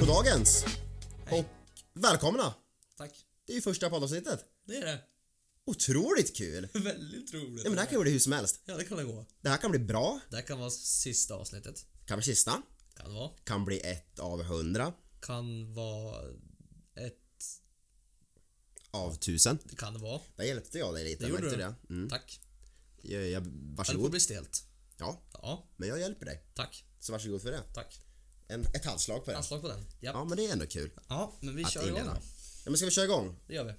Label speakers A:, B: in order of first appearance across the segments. A: dagens.
B: Hej.
A: Och välkomna!
B: Tack.
A: Det är ju första poddavsnittet.
B: Det är det.
A: Otroligt kul!
B: Väldigt roligt.
A: Ja, men det här kan bli hur som helst.
B: Ja, det kan det gå.
A: Det här kan bli bra,
B: Det här kan vara sista avsnittet.
A: kan bli sista,
B: Kan vara.
A: kan bli ett av hundra,
B: Kan vara ett...
A: av tusen.
B: Det kan vara.
A: Där hjälpte jag dig lite,
B: Det gjorde
A: märkte
B: du.
A: det? Mm.
B: Tack.
A: Jag, jag,
B: Ja, Det får
A: varsågod.
B: bli stelt.
A: Ja,
B: Ja,
A: men jag hjälper dig.
B: tack.
A: Så varsågod för det.
B: Tack.
A: En, ett handslag på det.
B: Anslag på den.
A: Ja,
B: Ja.
A: men det är ändå kul
B: ja, men vi
A: att
B: kör igång
A: inleda.
B: då.
A: Ja, men ska vi köra igång?
B: Det gör vi.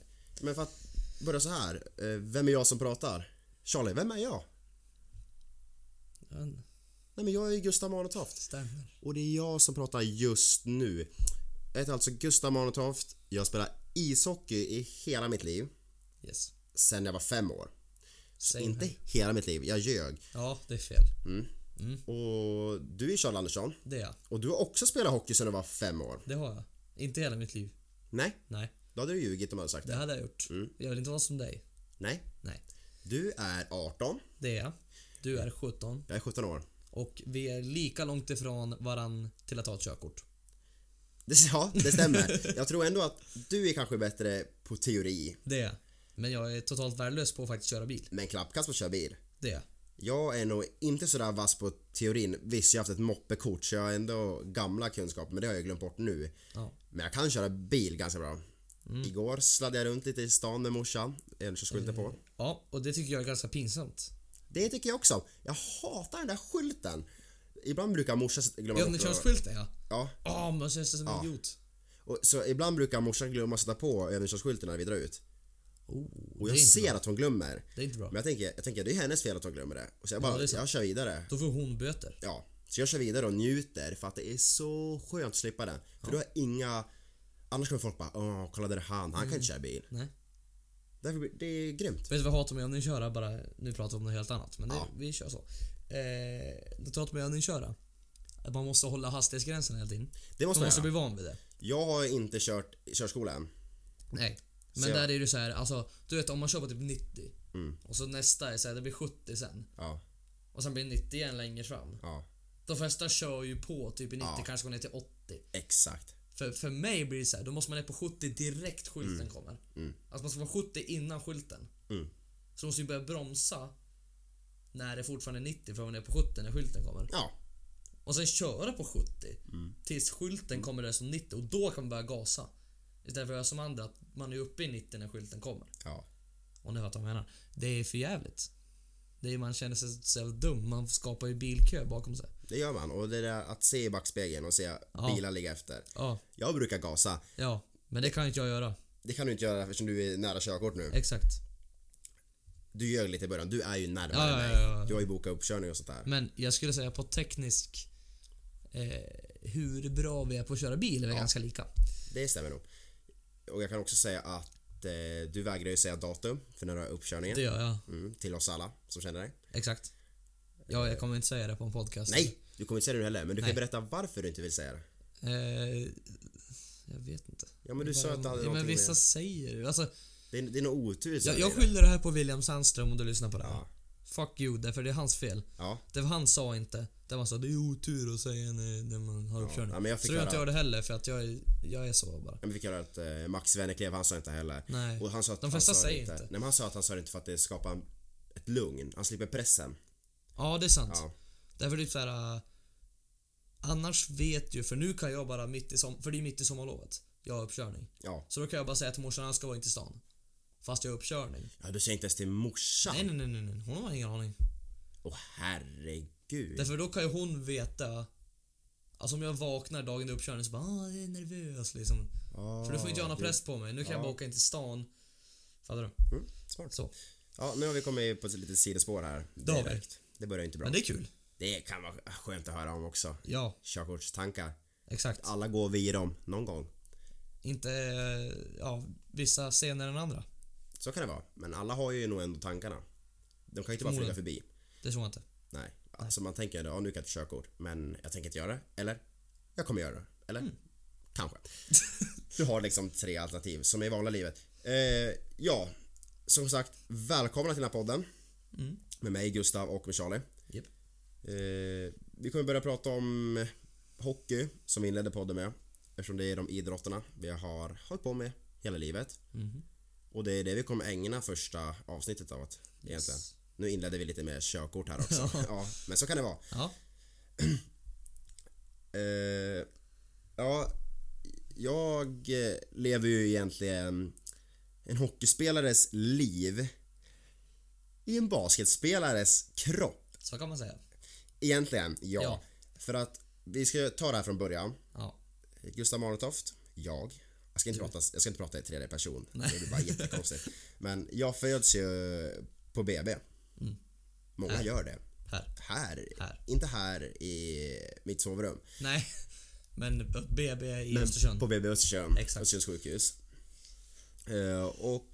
A: Men för att börja så här. eh, Vem är jag som pratar? Charlie, vem är jag?
B: Den
A: Nej, men jag är Gustav Manetoft.
B: stämmer.
A: Och det är jag som pratar just nu. Jag heter alltså Gustav Manetoft. Jag spelar ishockey i hela mitt liv.
B: Yes.
A: Sen jag var fem år. Så
B: Same
A: inte hela mitt liv, jag ljög.
B: Ja, det är fel.
A: Och du är Charles Andersson.
B: Det är jag.
A: Och du har också spelat hockey sedan du var fem år.
B: Det har jag. Inte hela mitt liv.
A: Nej,
B: Nej,
A: då hade du ljugit om du hade sagt
B: det
A: det.
B: hade jag gjort.
A: Mm.
B: Jag vill inte vara som dig.
A: Nej.
B: Nej.
A: Du är 18.
B: Det är jag. Du är 17
A: Jag är 17 år.
B: och vi är lika långt ifrån varann till att ta ett körkort.
A: Det, ja, det stämmer. Jag tror ändå att du är kanske bättre på teori.
B: Det är jag. Men jag är totalt värdelös på att faktiskt köra bil.
A: Men klappkast på att köra bil.
B: Det är jag.
A: Jag är nog inte sådär vass på teorin. Visst, jag har haft ett moppekort så jag har ändå gamla kunskaper men det har jag glömt bort nu.
B: Ja.
A: Men jag kan köra bil ganska bra.
B: Mm.
A: Igår sladdade jag runt lite i stan med morsan. En körskylten
B: Mm.
A: på.
B: ja, och det tycker jag är ganska pinsamt.
A: Det tycker jag också. Jag hatar den där skylten. Ibland brukar morsan s- glömma
B: Ja, men
A: bort att-
B: körskylten ja.
A: Ja.
B: Ja, man känns som en idiot.
A: Och, så ibland brukar morsan glömma att sätta på övningskörskylten när vi drar ut.
B: Oh,
A: Och
B: det, är
A: jag
B: inte
A: ser
B: bra.
A: att hon glömmer.
B: det är inte bra.
A: Men jag tänker, jag tänker det är hennes fel att hon glömmer det. Och så jag
B: Ja,
A: bara,
B: det är sant.
A: jag kör vidare.
B: Då får hon böter.
A: ja, så jag kör vidare och njuter för att det är så skönt att slippa den. För då har jag inga... Annars kommer folk bara åh, kolla där är han, han kan
B: Mm.
A: inte köra bil.
B: Nej.
A: Därför blir, det är grymt.
B: Vet du vad jag hatar med övningsköra? Bara, nu pratar vi om något helt annat, men det,
A: Ja.
B: vi kör så. Eh, det jag hatar med övningsköra? Att man måste hålla hastighetsgränsen hela tiden.
A: Det måste
B: Man
A: man
B: måste
A: göra.
B: bli van vid det.
A: Jag har inte kört i körskola än.
B: Nej. Men
A: Så Mm. jag-
B: där är det så här, alltså du vet om man kör på typ 90 och så nästa är så här, det blir 70 sen
A: Ja,
B: och sen blir det 90 igen längre fram.
A: ja,
B: De flesta kör ju på typ i 90 kanske går ner till 80.
A: exakt.
B: För, för mig blir det så här, då måste man ner på 70 direkt skylten kommer. Alltså man ska vara 70 innan skylten.
A: Mm.
B: Så de måste ju börja bromsa när det fortfarande är 90 för att vara ner på 70 när skylten kommer.
A: Ja,
B: Och sen köra på 70 tills skylten kommer där som 90 och då kan man börja gasa. Istället för att göra som andra, att man är uppe i 90 när skylten kommer.
A: ja.
B: Om ni fattar vad jag menar. Det är för jävligt. Det är, man känner sig så jävla dum. Man skapar ju bilkö bakom sig.
A: Det gör man. Och det där att se i backspegeln och se
B: Ja.
A: bilar ligga efter.
B: Ja,
A: Jag brukar gasa.
B: ja. Men det kan inte jag göra.
A: Det kan du inte göra eftersom du är nära körkort nu.
B: Exakt.
A: Du gör lite i början. Du är ju närmare
B: Ja, ja,
A: mig.
B: ja, ja, ja.
A: Du har ju bokat uppkörning och sånt där.
B: Men jag skulle säga på teknisk... Eh, hur bra vi är på att köra bil är vi ganska lika.
A: Det stämmer nog. Och jag kan också säga att eh, du vägrar ju säga datum för när du har uppkörningen.
B: Det gör jag.
A: Mm, till oss alla som känner dig.
B: Exakt. Ja, jag kommer inte säga det på en podcast.
A: Nej! Du kommer inte säga det nu heller, men du kan
B: Nej.
A: ju berätta varför du inte vill säga det.
B: Eh, jag vet inte.
A: Ja men du sa att det hade
B: ja, men
A: någonting
B: vissa
A: med...
B: säger ju. Alltså,
A: Det är, det är nog otur som
B: jag,
A: är
B: jag
A: det.
B: skyller det här på William Sandström om du lyssnar på det här.
A: Ja.
B: Fuck you, därför det är hans fel.
A: Ja,
B: Det var han sa inte. Det var så det är otur att säga när, när man har uppkörning.
A: ja, men jag
B: så
A: fick
B: det gör
A: höra-
B: inte jag det heller för att jag är, jag är så bara.
A: Ja, men vi kan höra att eh, Max Wennerklev, han sa inte heller.
B: Nej.
A: Och han sa att
B: De
A: han
B: flesta
A: sa
B: säger inte.
A: Nej, men han sa att han sa det inte för att det skapar en- ett lugn. Han slipper pressen.
B: Ja, det är sant.
A: Ja.
B: Därför typ såhär... äh, Annars vet ju, för nu kan jag bara mitt i som, för det är mitt i sommarlovet. Jag har uppkörning.
A: Ja.
B: Så då kan jag bara säga till morsan att han ska vara inte i stan. Fast jag har uppkörning.
A: ja, du säger inte ens till morsan.
B: Nej, nej, nej, nej, nej. Hon har ingen aning.
A: Åh herregud.
B: Därför då kan ju hon veta... Alltså om jag vaknar dagen i uppkörning så bara ah, jag är nervös liksom.
A: Ah,
B: För då får inte jag någon
A: gud.
B: press på mig. Nu kan jag
A: Ja.
B: bara åka in till stan. Fattar du?
A: Mm, smart.
B: Så.
A: Ja, nu har vi kommit på ett litet sidospår här.
B: Det har vi.
A: Direkt. Det börjar ju inte bra.
B: Men det är kul.
A: Det kan vara skönt att höra om också.
B: Ja,
A: Körkortstankar.
B: exakt.
A: Alla går vi i dem någon gång.
B: Inte, eh, ja, vissa senare än andra.
A: Så kan det vara. Men alla har ju nog ändå tankarna. De kan ju inte bara flyga
B: Förmodligen.
A: förbi.
B: Det tror jag inte.
A: Nej. Alltså man tänker ja nu kan jag ta körkort. Men jag tänker inte göra det. Eller? Jag kommer göra det. Eller? Kanske. Du har liksom tre alternativ som är i vanliga livet. Eh, ja, som sagt välkomna till den här podden. Med mig Gustav och med Charlie.
B: Japp.
A: Eh, vi kommer börja prata om hockey som vi inledde podden med. Eftersom det är de idrotterna vi har hållit på med hela livet. Och det är det vi kommer ägna första avsnittet av att egentligen. Nu inledde vi lite med körkort här också. ja. men så kan det vara.
B: Ja.
A: Eh, ja, jag eh, lever ju egentligen en hockeyspelares liv i en basketspelares kropp.
B: Så kan man säga.
A: Egentligen, ja.
B: Ja.
A: För att vi ska ta det här från början.
B: Ja.
A: Gustav Maretoft, jag. Jag ska, inte
B: Mm.
A: prata, jag ska inte prata i tredje person. Det blir bara jättekonstigt. Men jag föds ju på BB. Många gör det.
B: Mm. Här.
A: Här.
B: Här.
A: Inte här i mitt sovrum.
B: Nej. Men BB i Östersund.
A: På BB Östersund.
B: Exakt.
A: Östersunds sjukhus. Eh, och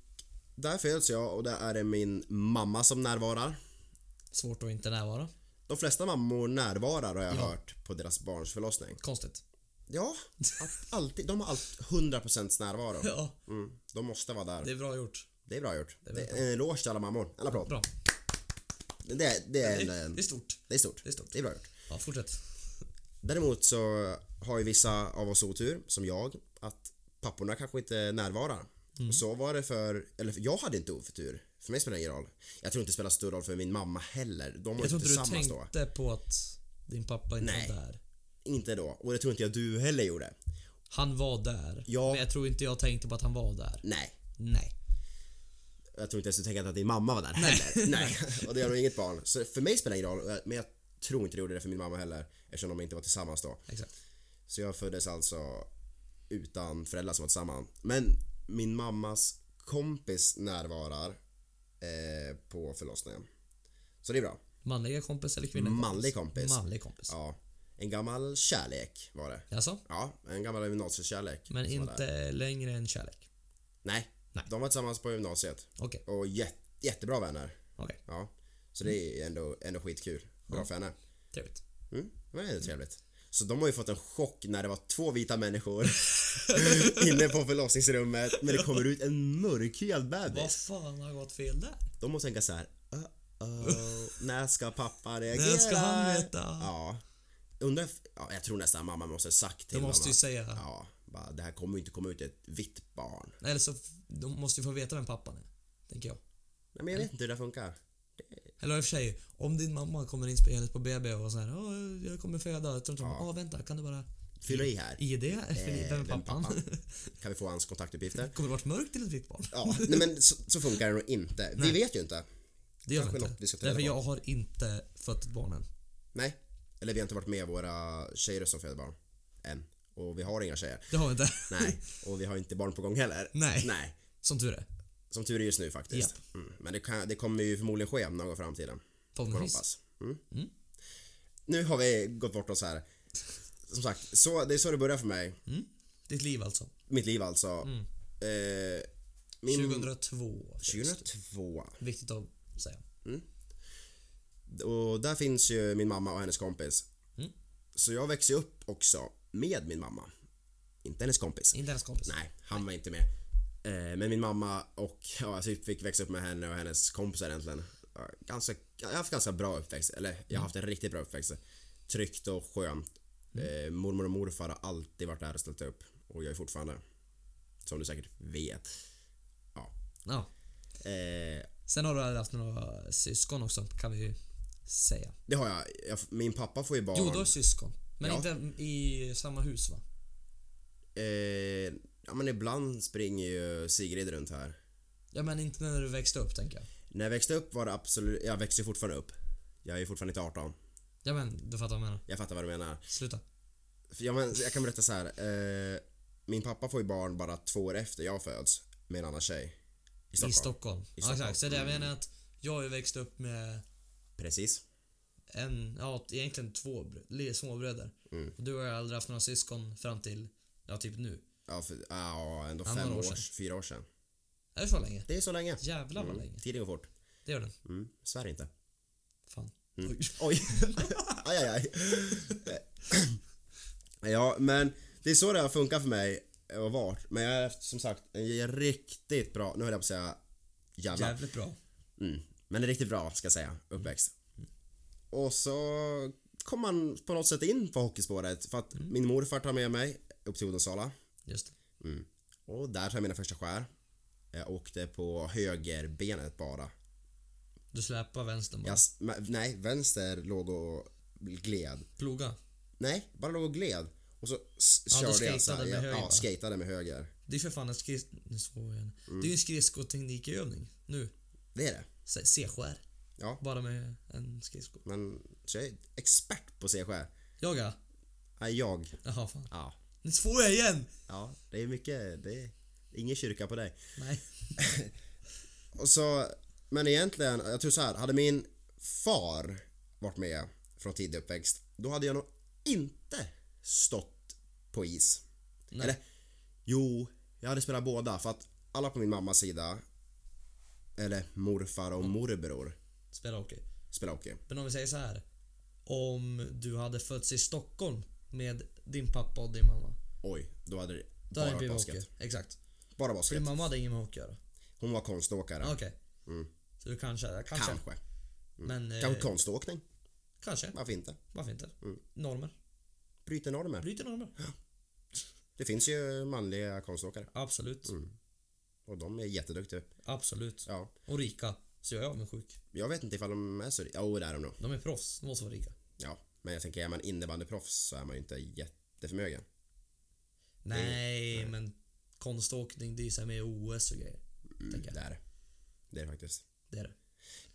A: där föds jag och där är det min mamma som närvarar.
B: Svårt att inte närvara.
A: De flesta mammor närvarar har jag hört på deras barns förlossning.
B: Konstigt.
A: Ja, att alltid, de har allt 100% närvaro.
B: Ja,
A: Mm, de måste vara där.
B: det
A: Det,
B: är bra gjort.
A: är bra gjort. Det är en eloge till alla mammor. En applåd.
B: Bra.
A: Det, det,
B: Det
A: är
B: är,
A: en, eh,
B: det är stort.
A: det är stort.
B: det är stort.
A: Det är bra gjort.
B: Ja, fortsätt.
A: Däremot så har ju vissa av oss otur, som jag, att papporna kanske inte närvarar.
B: Mm.
A: Och så var det för, eller för- jag hade inte otur. För mig spelar det ingen roll. Jag tror inte det spelar stor roll för min mamma heller. De var
B: Jag
A: ju
B: tror inte du
A: tillsammans då.
B: tänkte på att din pappa inte
A: Nej.
B: var där.
A: Inte då. Och det tror inte jag du heller gjorde.
B: Han var där.
A: Ja.
B: Men jag tror inte jag tänkte på att han var där.
A: Nej.
B: Nej.
A: Jag tror inte ens du tänkte att din mamma var där heller. Nej. Och det gör nog inget barn. Så för mig spelar det ingen roll. och jag- Men jag tror inte det gjorde det för min mamma heller. Eftersom de inte var tillsammans då.
B: Exakt.
A: Så jag föddes alltså utan föräldrar som var tillsammans. Men min mammas kompis närvarar eh, på förlossningen. Så det är bra.
B: Manliga kompis eller kvinnliga
A: Manlig kompis.
B: Manlig kompis.
A: Ja. En gammal kärlek var det.
B: Alltså,
A: Ja, en gammal gymnasiekärlek.
B: men
A: som var där.
B: inte längre än kärlek.
A: Nej,
B: Nej.
A: de var tillsammans på gymnasiet.
B: Okej,
A: Och jät- jättebra vänner.
B: okej.
A: Ja. Så
B: Mm.
A: det är ändå, ändå skitkul. Bra för henne.
B: Trevligt.
A: Mm, det var ändå trevligt. Så de har ju fått en chock när det var två vita människor inne på förlossningsrummet men det kommer ut en mörkhyad
B: Vad
A: bebis.
B: fan har gått fel där?
A: De måste tänka så här. Uh-oh, när ska pappa reagera?
B: När ska han veta?
A: Ja. Undrar, if- ja, jag tror nästan mamma måste ha sagt till
B: De måste
A: mamma.
B: ju säga...
A: Ja, bara, det här kommer ju inte komma ut ett vitt barn.
B: Eller så, f- de måste ju få veta vem pappan är. Tänker jag.
A: Nej men jag vet inte hur det här funkar.
B: Eller i och för sig, om din mamma kommer in spelandes på BB och så här, "Åh, jag kommer föda. Tror inte de, ja. vänta, kan du bara...
A: Fylla i här.
B: ID?
A: Eh,
B: Vem är pappan?
A: Kan vi få hans kontaktuppgifter?
B: kommer det varit mörkt till ett vitt barn?
A: Ja, nej men så, så funkar det nog inte. Vi vet ju inte.
B: Det gör
A: Kanske
B: jag
A: något vi ska
B: inte.
A: ta
B: Därför
A: reda
B: jag har inte fött ett barn än.
A: Nej. Eller vi har inte varit med våra tjejer som föder barn. Än. Och vi har inga tjejer.
B: Det har jag inte.
A: Nej. Och vi har inte barn på gång heller.
B: Nej.
A: Nej.
B: Som tur är.
A: Som tur är just nu faktiskt. Mm. Men det, kan, det kommer ju förmodligen ske någon gång i framtiden. Får man
B: Förhoppningsvis.
A: hoppas. Mm. Nu har vi gått bort oss här. Som sagt, så, det är så det börjar för mig.
B: Mm. Ditt liv alltså.
A: Mitt liv alltså. Eh, min,
B: 2002.
A: 2002.
B: Viktigt att säga.
A: Och där finns ju min mamma och hennes kompis.
B: Mm.
A: Så jag växer ju upp också med min mamma. Inte hennes kompis.
B: Inte hennes kompis.
A: Nej, han var inte med. Eh, Men min mamma och ja, alltså, jag fick växa upp med henne och hennes kompisar egentligen. Eh, Ganska, jag har haft ganska bra uppväxt. Eller jag har haft en riktigt bra uppväxt. Tryggt och skönt.
B: Mm.
A: Eh, mormor och morfar har alltid varit där och ställt upp. Och jag är fortfarande. Som du säkert vet. Ja.
B: Ja.
A: Eh,
B: Sen har du aldrig haft några syskon också, kan vi ju säga.
A: det har jag. jag. Min pappa får ju barn.
B: Jo, du har syskon. Men
A: Ja.
B: inte i samma hus va?
A: Eh, ja men ibland springer ju Sigrid runt här.
B: Ja, men inte när du växte upp tänker jag.
A: När jag växte upp var det absolut, jag växer fortfarande upp. Jag är ju fortfarande inte 18.
B: Ja, men du fattar vad jag menar.
A: Jag fattar vad du menar.
B: Sluta.
A: För Jag, men, jag kan berätta så här. Eh, min pappa får ju barn bara två år efter jag föds med en annan tjej. I Stockholm.
B: I Stockholm. Ja,
A: Stockholm. Mm.
B: exakt. Så det jag menar att jag har ju växt upp med
A: Precis.
B: en, ja egentligen två br- li- småbröder.
A: Mm.
B: Och du har ju aldrig haft några syskon fram till, ja typ nu.
A: Ja, för, ja ändå
B: Ja,
A: fem
B: några
A: år,
B: år
A: sedan.
B: sedan.
A: fyra år sedan.
B: Är det så länge?
A: Det är så länge.
B: Jävlar vad länge.
A: Tiden går fort.
B: Det gör den.
A: Mm. Svär inte.
B: Fan.
A: Mm. Oj. aj, aj, aj. ja, men det är så det har funkat för mig och varit. Men jag har haft, som sagt en riktigt bra, nu höll jag på att säga jävla.
B: Jävligt bra.
A: Mm. Men en riktigt bra, ska jag säga, uppväxt. Mm. Och så kom man på något sätt in på hockeyspåret för att min morfar tar med mig upp till Odensala.
B: Just det.
A: Mm. Och där tar jag mina första skär. Jag åkte på högerbenet bara.
B: Du släpar vänstern bara.
A: Jag, s- ma- nej, vänster låg och gled.
B: Ploga.
A: Nej, bara låg och gled. Och så s-
B: Ja, du
A: körde jag
B: skatade
A: så här.
B: med
A: Jag,
B: höger
A: ja,
B: bara.
A: skatade med höger.
B: Det är för fan en skris... Nu svor jag igen.
A: Mm.
B: Det är ju en skridskoteknikövning. Nu.
A: Det är det.
B: Se- C-skär.
A: Ja.
B: Bara med en skridsko.
A: Men så jag är expert på C-skär.
B: Jaga.
A: Nej, jag.
B: Jaha fan.
A: Ja.
B: Nu svor jag igen!
A: Ja, det är mycket. Det är ingen kyrka på dig.
B: Nej.
A: Och så, men egentligen, jag tror så här, hade min far varit med från tidig uppväxt, då hade jag nog inte stått på is.
B: Nej.
A: Eller, jo, jag hade spelat båda för att alla på min mammas sida, eller morfar
B: Mm.
A: och morbror,
B: Spela hockey.
A: spelar hockey.
B: Men om vi säger så här. Om du hade fötts i Stockholm med din pappa och din mamma.
A: Oj, då hade det
B: Då hade
A: bara
B: det
A: varit
B: blivit
A: basket.
B: hockey. Exakt.
A: Bara
B: För
A: basket.
B: din mamma hade ingen med hockey att göra.
A: Hon var konståkare.
B: Ah, Okej.
A: Mm.
B: Så du kanske... Kanske.
A: Kanske.
B: Men... Eh,
A: Kanske konståkning.
B: kanske.
A: Varför inte?
B: Varför inte?
A: Mm.
B: Normer.
A: Bryter normer.
B: Bryter normer.
A: Det finns ju manliga konståkare
B: Absolut.
A: Mm. och de är jätteduktiga.
B: Absolut.
A: Ja.
B: Och rika. Så jag är avundsjuk.
A: Jag vet inte ifall de är så... Jo, det är de nog.
B: De är proffs. De måste vara rika.
A: Ja. Men jag tänker, är man innebandyproffs så är man ju inte jätteförmögen.
B: Nej, men konståkning det är ju såhär med OS och grejer. Tänker
A: Mm, Det
B: jag.
A: är det. Det är det faktiskt.
B: Det är det.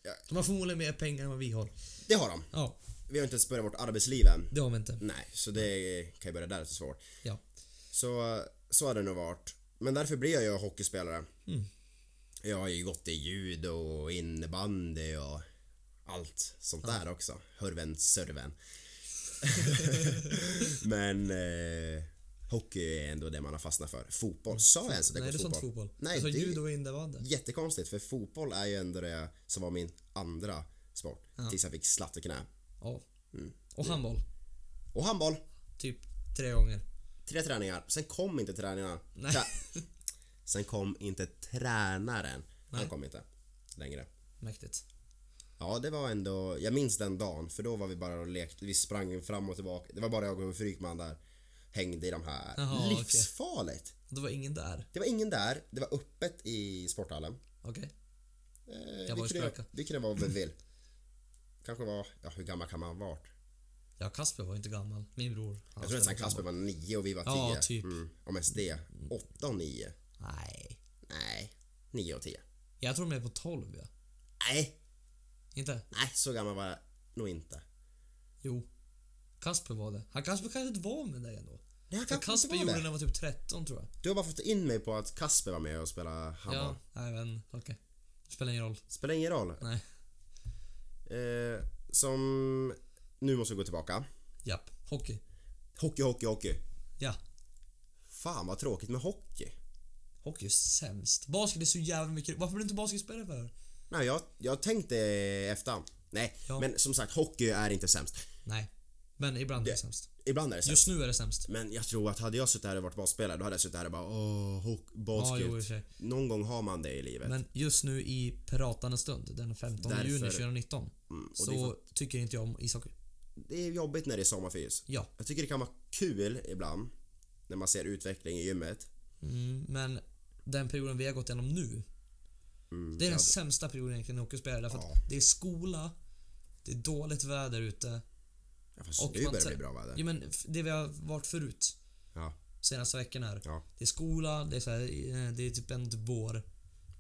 A: Ja.
B: De har förmodligen mer pengar än vad vi har.
A: Det har de.
B: Ja,
A: Vi har inte ens börjat vårt arbetsliv än.
B: det har vi inte.
A: Nej, så det kan ju börja där så svårt.
B: Ja.
A: Alltså, Så, så har det nog varit. Men därför blir jag ju hockeyspelare.
B: Mm.
A: Jag har ju gått i judo och innebandy och allt sånt där också. Hörven, serven. Men eh, hockey är ändå det man har fastnat för. Fotboll, sa jag ens att jag gått
B: Mm. Nej, du sa inte
A: fotboll?
B: fotboll.
A: Nej,
B: du sa
A: det är
B: judo och innebandy.
A: jättekonstigt för fotboll är ju ändå det som var min andra sport. Tills jag fick slatt i knä.
B: Ja.
A: Mm.
B: Och handboll.
A: Och handboll.
B: Typ tre gånger.
A: Tre träningar, sen kom inte träningarna.
B: Nej.
A: Trä- sen kom inte tränaren. Han
B: Nej.
A: kom inte längre.
B: Mäktigt.
A: Ja, det var ändå... Jag minns den dagen, för då var vi bara och lekte. Vi sprang fram och tillbaka. Det var bara jag och Frykman där. Hängde i de här.
B: Jaha, okej.
A: Livsfarligt!
B: Det var ingen där.
A: Det var ingen där. Det var öppet i sporthallen.
B: Okej.
A: Eh,
B: Jag
A: vi,
B: var
A: kunde,
B: i Spöka.
A: vi kunde vara vad vi vill. Kanske var... Ja, hur gammal kan man ha varit?
B: Ja, Kasper var ju inte gammal. Min bror.
A: Jag
B: Han
A: tror nästan
B: spelade
A: Kasper var nio och vi var
B: Ja,
A: tio.
B: typ.
A: mm, om ens det. Åtta och nio.
B: handboll. Nej.
A: Nej, nio och tio.
B: Jag tror de är på 12 ja.
A: Nej,
B: Inte?
A: Nej, så gammal var jag nog inte.
B: Jo. Kasper var det. Han Kasper kanske inte var med dig ändå.
A: Nej, han
B: För
A: kanske inte
B: Kasper
A: var
B: gjorde det
A: det.
B: när han var typ 13 tror jag.
A: Du har bara fått in mig på att Kasper var med och spelade handboll.
B: Ja, nej men okej. Det spelar ingen roll.
A: Spelar ingen roll.
B: Nej.
A: Eh, som... Nu måste vi gå tillbaka.
B: Japp. Hockey.
A: Hockey, hockey, hockey.
B: Ja.
A: Fan vad tråkigt med hockey.
B: Hockey är sämst. Basket är så jävla mycket Varför blir du inte basketspelare för?
A: Nej, jag, jag tänkte efter. Nej,
B: Ja.
A: men som sagt hockey är inte sämst.
B: Nej. Men ibland är
A: Det-
B: det sämst.
A: Ibland är det sämst.
B: Just nu är det sämst.
A: Men jag tror att hade jag suttit här och varit basspelare då hade jag suttit här och bara åh, hock,
B: Ja, jo, i och
A: basket.
B: för sig.
A: Någon gång har man det i livet.
B: Men just nu i Piraternas stund, den 15
A: Därför- Mm,
B: juni 2019,
A: och det
B: så tycker inte jag om ishockey.
A: Det är jobbigt när det är sommarfys.
B: Ja.
A: Jag tycker det kan vara kul ibland när man ser utveckling i gymmet.
B: Mm, men den perioden vi har gått igenom
A: Mm,
B: nu. det är den sämsta perioden egentligen i hockeyspelare. Därför
A: Ja.
B: att det är skola, det är dåligt väder ute.
A: Ja, fast
B: Och
A: nu
B: man
A: börjar det
B: ser-
A: bli bra väder.
B: Ja, men f- det vi har varit förut.
A: Ja,
B: senaste veckan här.
A: ja.
B: Det är skola, det är, så här, eh, det är typ en typ vår.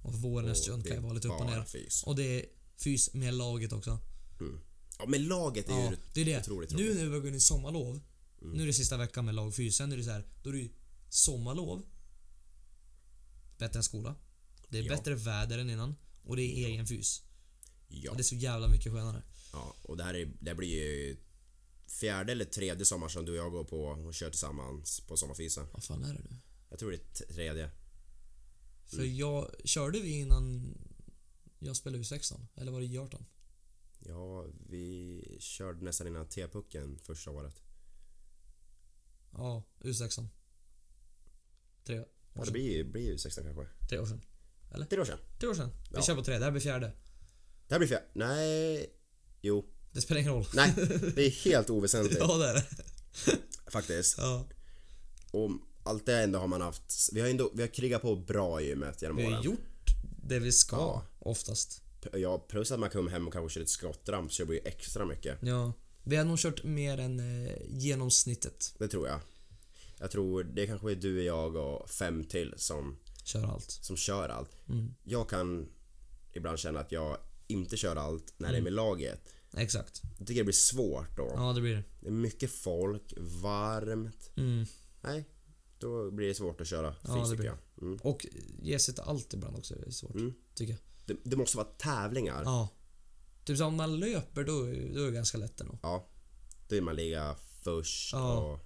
B: Och våren
A: Och
B: och stund
A: det
B: kan
A: är
B: ju vara lite upp och
A: bara
B: ner.
A: fys.
B: Och det är fys med laget också.
A: mm. ja men laget är
B: Ja,
A: ju
B: det är det.
A: otroligt
B: nu
A: roligt. Mm.
B: när vi börjar gå in i sommarlov. Nu är det sista veckan med lagfys. Sen är det så här, då är det ju sommarlov. Bättre än skola. Det är
A: Ja.
B: bättre väder än innan. Och det är egen fys.
A: Ja.
B: Och det är så jävla mycket skönare.
A: ja, och det här är, det här blir ju fjärde eller tredje sommar som du och jag går på och kör tillsammans på sommarfysen.
B: Vad fan är det nu?
A: Jag tror det är t- tredje.
B: För jag... Körde vi innan jag spelade U16? Eller var det J18?
A: Ja, vi körde nästan innan T-pucken första året.
B: Ja, U16. Tre
A: Ja,
B: år
A: det
B: sedan.
A: blir ju blir ju 16 kanske.
B: Tre år sedan.
A: Tre år sedan.
B: Tre år sedan. Vi
A: Ja.
B: kör på tre, det här blir fjärde.
A: Det här blir fjärde. Nej. Jo.
B: Det spelar ingen roll.
A: Nej, det är helt oväsentligt
B: Ja, det är det.
A: faktiskt.
B: Ja.
A: Och allt det ändå har man haft. Vi har ändå, vi har krigat på bra i gymmet genom
B: Vi har
A: åren.
B: ju gjort det vi ska
A: Ja.
B: oftast.
A: P- Ja, plus att man kom hem och kanske körde ett skottramp så jag blir ju extra mycket.
B: Ja. Vi har nog kört mer än eh, genomsnittet.
A: Det tror jag. Jag tror det kanske är du, jag och fem till som,
B: Kör allt.
A: som kör allt.
B: Mm.
A: Jag kan ibland känna att jag inte kör allt när det är med laget.
B: Exakt.
A: Jag tycker det blir svårt då.
B: Mm. Ja, det blir det.
A: Det är mycket folk, varmt.
B: Mm.
A: Nej, då blir det svårt att köra fysiskt
B: Ja, det blir
A: tycker jag. Mm.
B: Och ge sig till allt ibland också är svårt.
A: Mm.
B: Tycker jag.
A: Det, det måste vara tävlingar. Ja.
B: Ja. Typ så om man löper då, då är det ganska lätt ändå.
A: Då vill man ligga först
B: Ja.
A: och...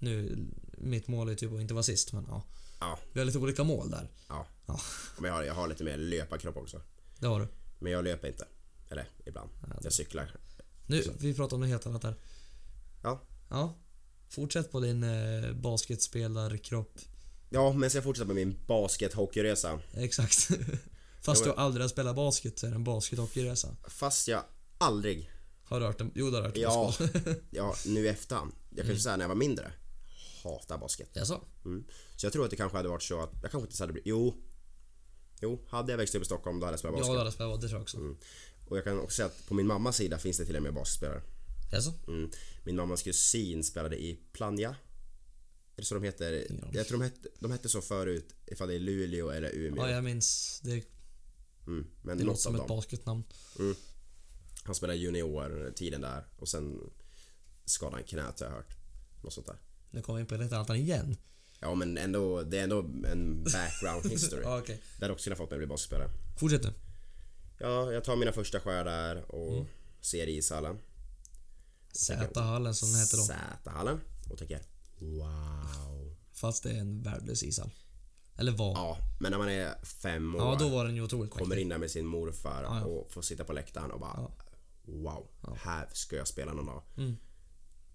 B: Nu, mitt mål är typ att inte vara sist men ja.
A: Ja,
B: Vi har lite olika mål där.
A: ja.
B: Ja,
A: Men jag har, jag har lite mer löparkropp också.
B: det har du.
A: Men jag löper inte. Eller ibland. Jag cyklar.
B: Nu, vi pratar om något helt annat här.
A: Ja.
B: Ja. Fortsätt på din eh, basketspelarkropp.
A: Ja, men så jag fortsätter med min baskethockeyresa.
B: Exakt. Fast du aldrig har spelat basket så är det en baskethockeyresa.
A: Fast jag aldrig...
B: Har du hört den? Jo, det har du hört den.
A: Ja, ja nu i efterhand. Jag
B: Mm.
A: kan ju säga när jag var mindre. Hatar basket.
B: Jaså?
A: Mm. Så jag tror att det kanske hade varit så att... Jag kanske inte hade blivit... Jo. Jo, hade jag växt upp i Stockholm då hade jag spelat
B: Ja,
A: basket. Mm.
B: du hade spelat, det tror jag också.
A: Och jag kan också säga att på min mammas sida finns det till och med basketspelare.
B: Jaså?
A: Mm. Min mammas kusin spelade i Plannja. Är det så de heter?
B: Ingen aning.
A: Jag tror de hette, de hette så förut ifall det är Luleå eller Umeå.
B: Ja, jag minns. Det,
A: Mm. Men
B: det låter
A: något av
B: som ett
A: dem.
B: basketnamn.
A: Han spelade junior-tiden där och sen skadade han knät har jag hört. Något sånt där.
B: Nu kommer vi in på lite annat igen.
A: Ja men ändå, det är ändå en background history.
B: Ja, okej.
A: Det hade också kunnat fått mig att bli basketspelare.
B: Fortsätt nu.
A: Ja, jag tar mina första skär där och
B: Mm.
A: ser ishallen.
B: Z-hallen som den heter då.
A: Zätahallen. Och tänker wow.
B: Fast det är en värdelös ishall. Eller var. Ja,
A: Ja, men när man är fem år.
B: då var den ju otroligt
A: kommer
B: mäktig.
A: in där med sin morfar
B: Ja, ja.
A: och får sitta på läktaren och bara Wow, här ska jag spela någon dag.
B: Mm.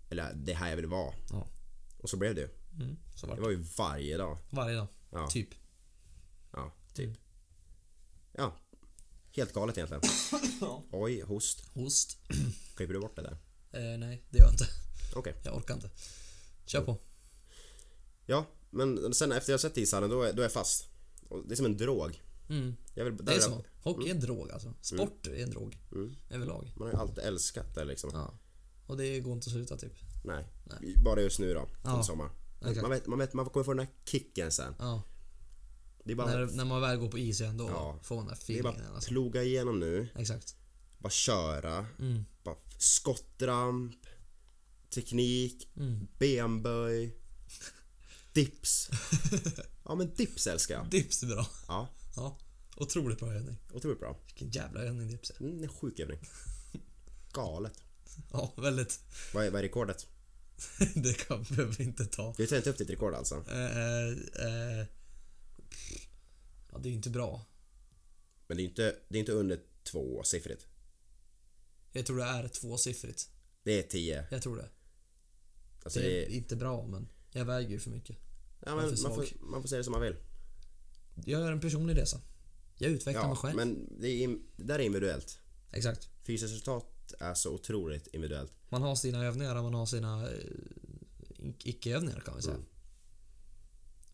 A: Eller det är här jag vill vara.
B: Ja.
A: Och så blev det ju.
B: Mm, så var
A: Det
B: det.
A: var ju varje dag.
B: Varje dag.
A: Ja.
B: Typ.
A: Ja, typ. Ja. Helt galet egentligen.
B: Ja.
A: Oj, host.
B: Host.
A: Klipper du bort det där?
B: Eh, nej, det gör jag inte.
A: Okej.
B: Jag orkar inte. Kör på.
A: Ja, men sen efter jag sett ishallen då är, då är jag fast. Och det är som en drog.
B: Mm.
A: Jag vill,
B: Det är så. Hockey
A: Mm.
B: är en drog alltså. Sport är en drog. Överlag.
A: Man har ju alltid älskat det liksom.
B: Ja. Och det går inte att sluta typ.
A: Nej. Bara just nu då.
B: Ja.
A: En sommar.
B: Exakt.
A: Man, vet, man, vet, man kommer få den här kicken sen.
B: Ja.
A: Det är bara
B: När, när man väl går på is igen då
A: Ja.
B: får man den där
A: Det är
B: feelingen.
A: bara
B: Alltså.
A: ploga igenom nu,
B: Exakt.
A: bara köra,
B: Mm.
A: bara skottramp, teknik,
B: Mm.
A: benböj, dips. ja men dips älskar jag.
B: Dips är bra.
A: Ja,
B: Ja. Otroligt bra övning.
A: otroligt bra.
B: Vilken jävla övning dips är.
A: Mm, en sjuk övning. Galet.
B: Ja, väldigt.
A: Vad är, vad är rekordet?
B: det kan behöver vi inte ta.
A: Vi tar inte upp ditt rekord alltså.
B: Eh, eh, eh. Ja, det är ju inte bra.
A: Men det är inte, det är inte under tvåsiffrigt.
B: Jag tror det är tvåsiffrigt.
A: Det är tio.
B: Jag tror det.
A: Alltså
B: Det
A: det
B: är
A: är,
B: inte bra men jag väger ju för mycket.
A: ja, men
B: för
A: man,
B: svag.
A: får, man får säga det som man vill.
B: Jag gör en personlig resa. Jag utvecklar mig
A: Ja,
B: själv.
A: men det, är, det där är individuellt.
B: Exakt.
A: Fysiskt resultat är så otroligt individuellt.
B: Man har sina övningar och man har sina eh, icke-övningar kan vi säga.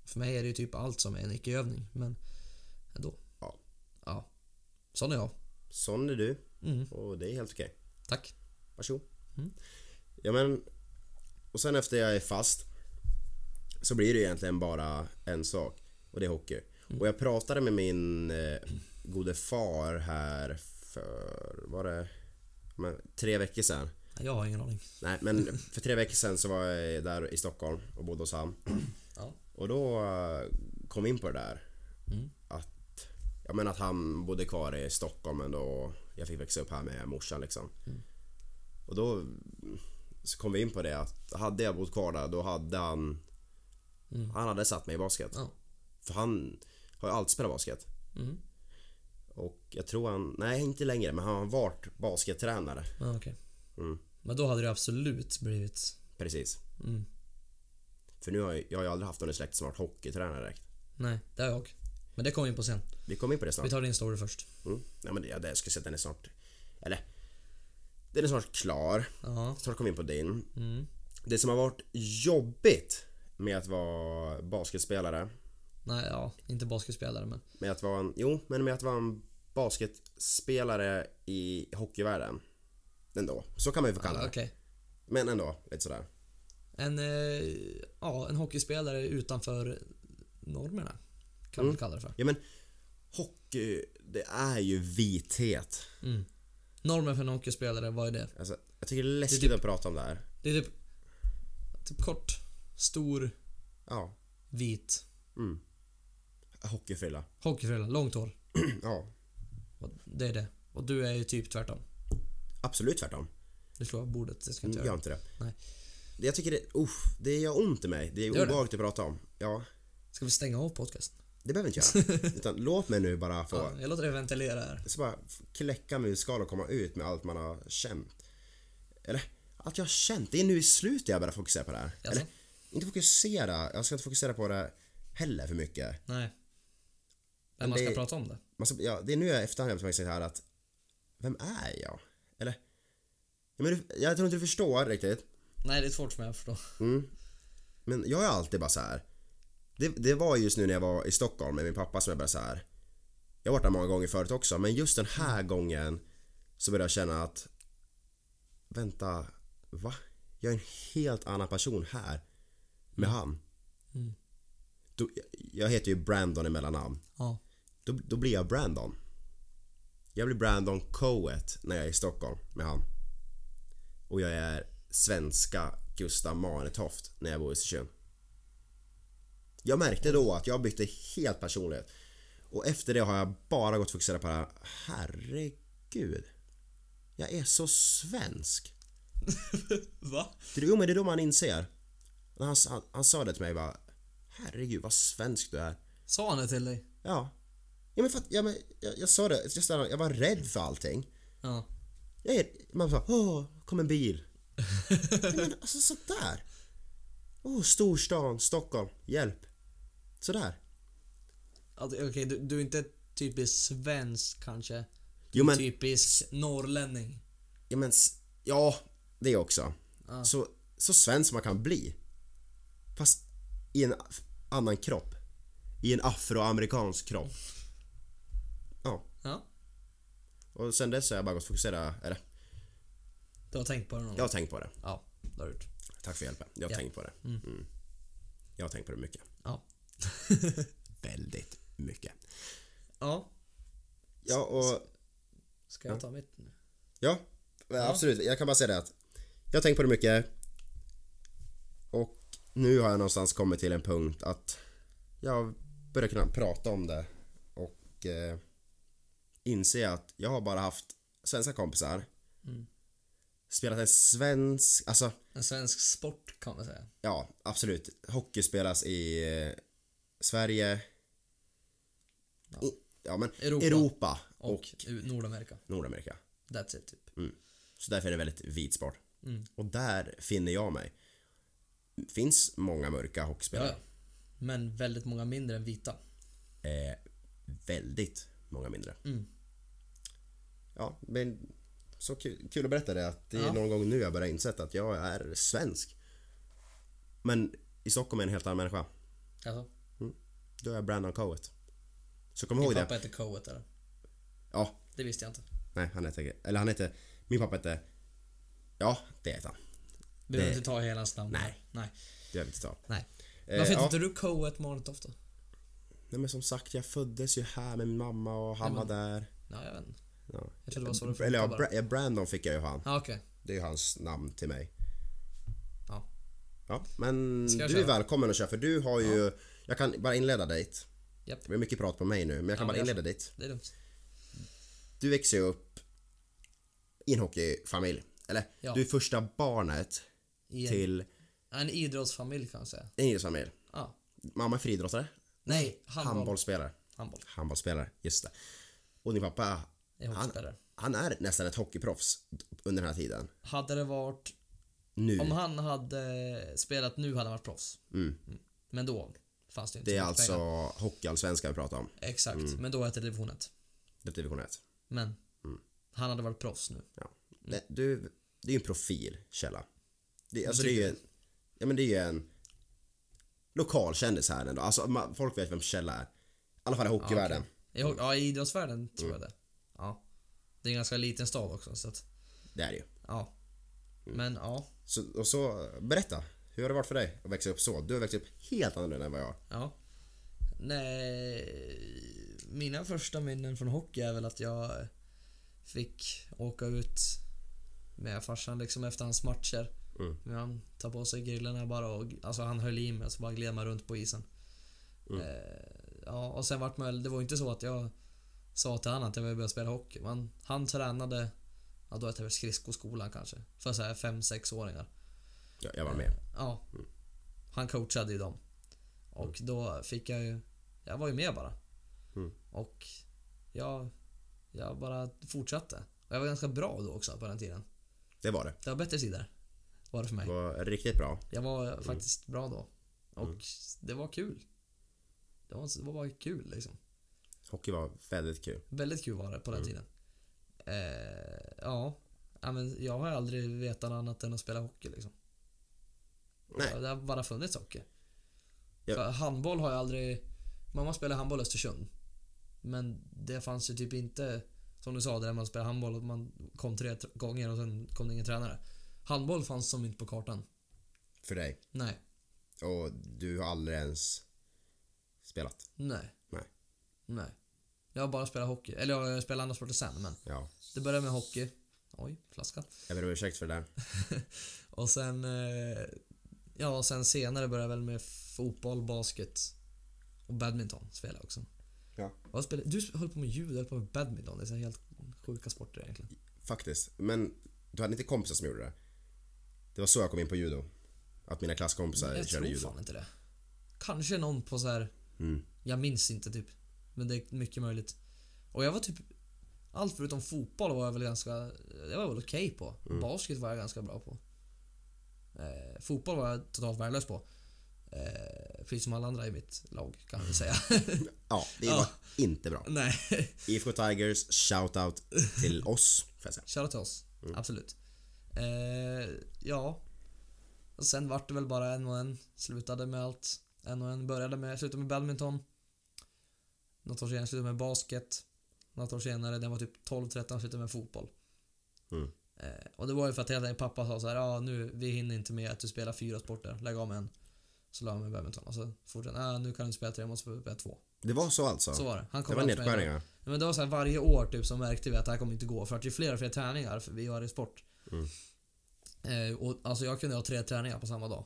B: För mig är det ju typ allt som är en icke-övning men ändå.
A: Ja.
B: Ja. Sån är jag.
A: Sån är du
B: Mm.
A: och det är helt okej.
B: Tack.
A: Varsågod. Ja men... Och sen efter jag är fast så blir det egentligen bara en sak och det är hockey. Och jag pratade med min eh, gode far här för, var det men, tre veckor sedan?
B: Nej, Jag har ingen aning.
A: Nej men för tre veckor sedan så var jag där i Stockholm och bodde hos han.
B: Ja.
A: Och då eh, kom vi in på det där. Att, ja, men att han bodde kvar i Stockholm ändå och jag fick växa upp här med morsan liksom. Och då så kom vi in på det att hade jag bott kvar där då hade han Han hade satt mig i basket.
B: Ja.
A: För han har ju alltid spelat basket.
B: Mm.
A: Och jag tror han, nej inte längre men han har varit baskettränare.
B: Ja, okej.
A: Mm.
B: Men då hade det absolut blivit...
A: Precis.
B: Mm.
A: För nu har jag, jag har ju aldrig haft någon i släkt som har varit hockeytränare direkt.
B: Nej, det har jag. Men det kommer vi in på sen.
A: Vi kom in på det snart.
B: Vi tar din story först.
A: Mm. Ja, men det, ja, det, jag skulle säga att den är snart... Eller... Den är snart klar.
B: Ja.
A: Snart kommer vi in på din.
B: Mm.
A: Det som har varit jobbigt med att vara basketspelare.
B: Nej, ja, inte basketspelare men.
A: Med att vara en, jo, men med att vara en basketspelare i hockeyvärlden. Ändå. Så kan man ju få kalla
B: Okej.
A: det. Men ändå, lite sådär.
B: En, eh, ja, en hockeyspelare utanför normerna. Kan man kalla det för.
A: Ja men, hockey, det är ju vithet.
B: Mm. Normen för en hockeyspelare, vad är det?
A: Alltså, jag tycker det är läskigt
B: Det är typ-
A: att prata om det här.
B: Det är typ, typ kort, stor,
A: Ja. mm.
B: vit,
A: Hockeyfrilla.
B: hockeyfrilla, långt hår.
A: ja.
B: Och det är det. Och du är ju typ tvärtom.
A: Absolut tvärtom.
B: Du slår av bordet, det ska jag inte
A: Jag Mm, gör
B: göra.
A: inte det.
B: Nej.
A: Jag tycker det, uff, det gör ont i mig. Det är
B: Gör det?
A: obehagligt att prata om. Ja,
B: Ska vi stänga av podcasten?
A: det behöver inte jag. Utan låt mig nu bara få,
B: Ja, jag låter det ventilera här.
A: så bara f- kläcka muskal och komma ut med allt man har känt. Eller, allt jag har känt. Det är nu i slutet jag börjar fokusera på det här.
B: Jaså?
A: Eller, inte fokusera. Jag ska inte fokusera på det heller för mycket.
B: Nej. Men
A: Men
B: man ska
A: det-
B: prata om det.
A: Man ska, ja, det är nu jag i efterhand har så här att Vem är jag? Eller? Ja, men du, jag tror inte du förstår riktigt.
B: Nej, det är svårt för mig att förstå.
A: Men jag är alltid bara så här. Det, det var just nu när jag var i Stockholm med min pappa som jag började så här. Jag har varit där många gånger förut också men just den här gången så började jag känna att Vänta, va? Jag är en helt annan person här med han. Då, jag heter ju Brandon i mellannamn.
B: Ja.
A: Då, då blir jag Brandon. Jag blir Brandon Coet när jag är i Stockholm med han. Och jag är svenska Gustav Marnetoft när jag bor i Östersund. Jag märkte då att jag bytte helt personlighet. Och efter det har jag bara gått och fokuserat på det här. Herregud. Jag är så svensk.
B: Va?
A: Det, jo men det är då man inser. När han, han, han sa det till mig bara. Herregud vad svensk du är.
B: Sa han det till dig?
A: Ja. Ja men, för att, ja, men jag, jag sa det, jag, stannade, jag var rädd för allting.
B: Ja.
A: Jag är, man sa åh, kom en bil. ja, men alltså sådär. Åh, storstan, Stockholm, hjälp. Sådär.
B: Att- Alltså, Okej, du, du är inte typisk svensk kanske. Du
A: Jo,
B: är
A: men-
B: typisk norrlänning.
A: Ja men, s- ja, det också. Så, så svensk man kan bli. Fast i en a- annan kropp. I en afroamerikansk kropp. Ja,
B: Ja.
A: och sen dess har jag bara gått och fokusera, eller
B: Du har tänkt på det någon
A: jag har tänkt på det.
B: Ja, det har du gjort.
A: Tack för hjälpen. Jag har
B: Ja.
A: tänkt på det. Mm. Jag har tänkt på det mycket.
B: Ja.
A: Väldigt mycket.
B: Ja.
A: Ja, och...
B: Ska jag ta mitt nu?
A: Ja, absolut. Jag kan bara säga det att jag har tänkt på det mycket. Och nu har jag någonstans kommit till en punkt att jag börjar kunna prata om det och eh, inse att jag har bara haft svenska kompisar. Mm. Spelat en svensk, alltså
B: En svensk sport kan man säga.
A: ja, absolut. Hockey spelas i eh, Sverige. Ja, I, ja men
B: Europa.
A: Europa,
B: Och,
A: och,
B: U- Nordamerika.
A: Nordamerika. Mm.
B: That's it typ.
A: Så därför är det väldigt vit sport. Och där finner jag mig. Finns många mörka
B: Ja,
A: hockeyspelare.
B: ja. Men väldigt många mindre än vita.
A: Eh, väldigt många mindre. Ja, men så kul, kul att berätta det att det är
B: Ja.
A: någon gång nu jag börjar insett att jag är svensk. Men i Stockholm är jag en helt annan människa.
B: Alltså,
A: Då är jag Brandon Coet. Så kom
B: min
A: ihåg
B: pappa
A: det.
B: heter Coet eller?
A: Ja,
B: Det visste jag inte.
A: nej han heter, eller han heter, min pappa heter, ja det heter han.
B: Du behöver
A: Det-
B: inte ta hela hans namn.
A: Nej.
B: Nej.
A: Det behöver vi inte ta.
B: Nej.
A: Eh,
B: Varför heter
A: ja.
B: inte du Coet Marnetoft då?
A: Nej men som sagt jag föddes ju här med min mamma och han var där.
B: Ja, jag vet inte.
A: Ja.
B: Jag trodde det var så det funkar
A: Eller ja,
B: bara.
A: Bra- ja, Brandon fick jag ju han.
B: Ja, okej.
A: Det är ju hans namn till mig.
B: Ja.
A: Ja, men
B: Ska
A: du
B: jag
A: är
B: köra?
A: välkommen att köra för du har ju... Jag kan bara inleda dit.
B: Japp.
A: Det är mycket prat på mig nu men jag kan
B: Ja,
A: bara
B: men jag-
A: inleda dit.
B: Det är lugnt.
A: Du växer ju upp i en hockeyfamilj. Eller
B: Ja.
A: du är första barnet
B: I en,
A: till
B: en idrottsfamilj kan man säga.
A: en idrottsfamilj.
B: Ja.
A: Mamma är friidrottare.
B: Nej, handboll. handboll.
A: Handbollsspelare. Handbollsspelare, just det. Och din pappa,
B: Är hockeyspelare.
A: han är nästan ett hockeyproffs under den här tiden.
B: Hade det varit...
A: Nu.
B: Om han hade spelat nu hade han varit proffs. Mm. Men då fanns det ju inte
A: Det är
B: så mycket
A: alltså Mm.
B: pengar.
A: hockeyallsvenskan vi pratar om.
B: Exakt, men då hette det division 1.
A: Det är division 1.
B: Men
A: Mm.
B: han hade varit proffs nu.
A: Ja.
B: Mm.
A: Det, du, det är ju en profil, Källa. Det, alltså det är ju en, ja, men det är ju en lokalkändis här ändå. Alltså man, folk vet vem Kjell är. I alla fall i hockeyvärlden.
B: I, ho- ja, i idrottsvärlden tror
A: Mm.
B: jag det. Ja. Det är en ganska liten stad också så att,
A: Det är det ju.
B: ja.
A: Mm.
B: Men ja,
A: Så, och så, berätta. Hur har det varit för dig att växa upp så? Du har växt upp helt annorlunda än vad jag har.
B: ja. Nej, mina första minnen från hockey är väl att jag fick åka ut med farsan liksom efter hans matcher.
A: Mm.
B: Men han tar på sig grillorna bara och alltså han höll i mig så bara gled man runt på isen. Eh, ja, och sen vart man väl- det var ju inte så att jag sa till han att jag ville börja spela hockey. Men han tränade, ja då hette det väl skridskoskolan kanske. För såhär 5-6 åringar.
A: Jag, jag var med.
B: Ja. Han coachade ju dem. Och då fick jag ju... Jag var ju med bara.
A: Mm.
B: Och jag, jag bara fortsatte. Och jag var ganska bra då också på den tiden.
A: Det var det.
B: Det var bättre sidor. Var det för mig.
A: Det var riktigt bra.
B: Jag var faktiskt bra då. Och det var kul. Det var, det var bara kul liksom.
A: Hockey var väldigt kul.
B: Väldigt kul var det på den
A: Mm.
B: tiden. Eh, ja. ja men jag har aldrig vetat annat än att spela hockey liksom.
A: Nej.
B: Det har bara funnits hockey.
A: Ja.
B: För handboll har jag aldrig... Mamma spelade handboll i Östersund. Men det fanns ju typ inte, som du sa, det där man spelade handboll och man kom tre tr- gånger och sen kom det ingen tränare. Handboll fanns som inte på kartan.
A: För dig.
B: Nej.
A: Och du har aldrig ens spelat.
B: Nej.
A: Nej.
B: Nej. Jag har bara spelat hockey. Eller jag har spelat andra sporter sen, men
A: Ja.
B: det började med hockey. Oj, flaska.
A: Jag ber om ursäkt för det där.
B: Och sen... Eh, ja, och sen senare började jag väl med fotboll, basket och badminton spelade jag också.
A: Ja.
B: Vad spelar, du höll på med judo, jag höll på med badminton. Det är så här helt sjuka sporter egentligen.
A: Faktiskt. Men du hade inte kompisar som gjorde det? Det var så jag kom in på judo. Att mina klasskompisar
B: jag tror
A: körde judo.
B: fan inte det. Kanske någon på så här.
A: Mm.
B: jag minns inte typ. Men det är mycket möjligt. Och jag var typ, allt förutom fotboll var jag väl ganska, jag var väl okej på.
A: Mm.
B: Basket var jag ganska bra på. Eh, fotboll var jag totalt värdelös på. Eh, precis som alla andra i mitt lag kan vi säga.
A: Ja, det
B: Ja.
A: var inte bra.
B: Nej,
A: IFK Tigers, shoutout till oss. Får jag säga.
B: shoutout till oss.
A: Mm.
B: Absolut. Eh, ja. Och sen vart det väl bara en och en. Slutade med allt. En och en. Började med, slutade med badminton. Något år senare slutade med basket. Något år senare, den var typ 12-13, slutade med fotboll.
A: Mm.
B: Eh, och det var ju för att hela tiden pappa sa så här, ja nu, vi hinner inte med att du spelar fyra sporter, lägg av med en. Så la jag mig badminton och så fortsatte han, "Ah, nu kan du inte spela tre, jag måste spela två.
A: Det var så alltså?
B: Så var det. Han
A: det
B: kom
A: var
B: alltid med
A: nedskärningar?
B: Ja, Men det var så här, varje år typ som märkte vi att det här kommer inte gå för att det är fler och fler träningar för vi gör det i sport.
A: Mm.
B: Eh, och, alltså jag kunde ha tre träningar på samma dag.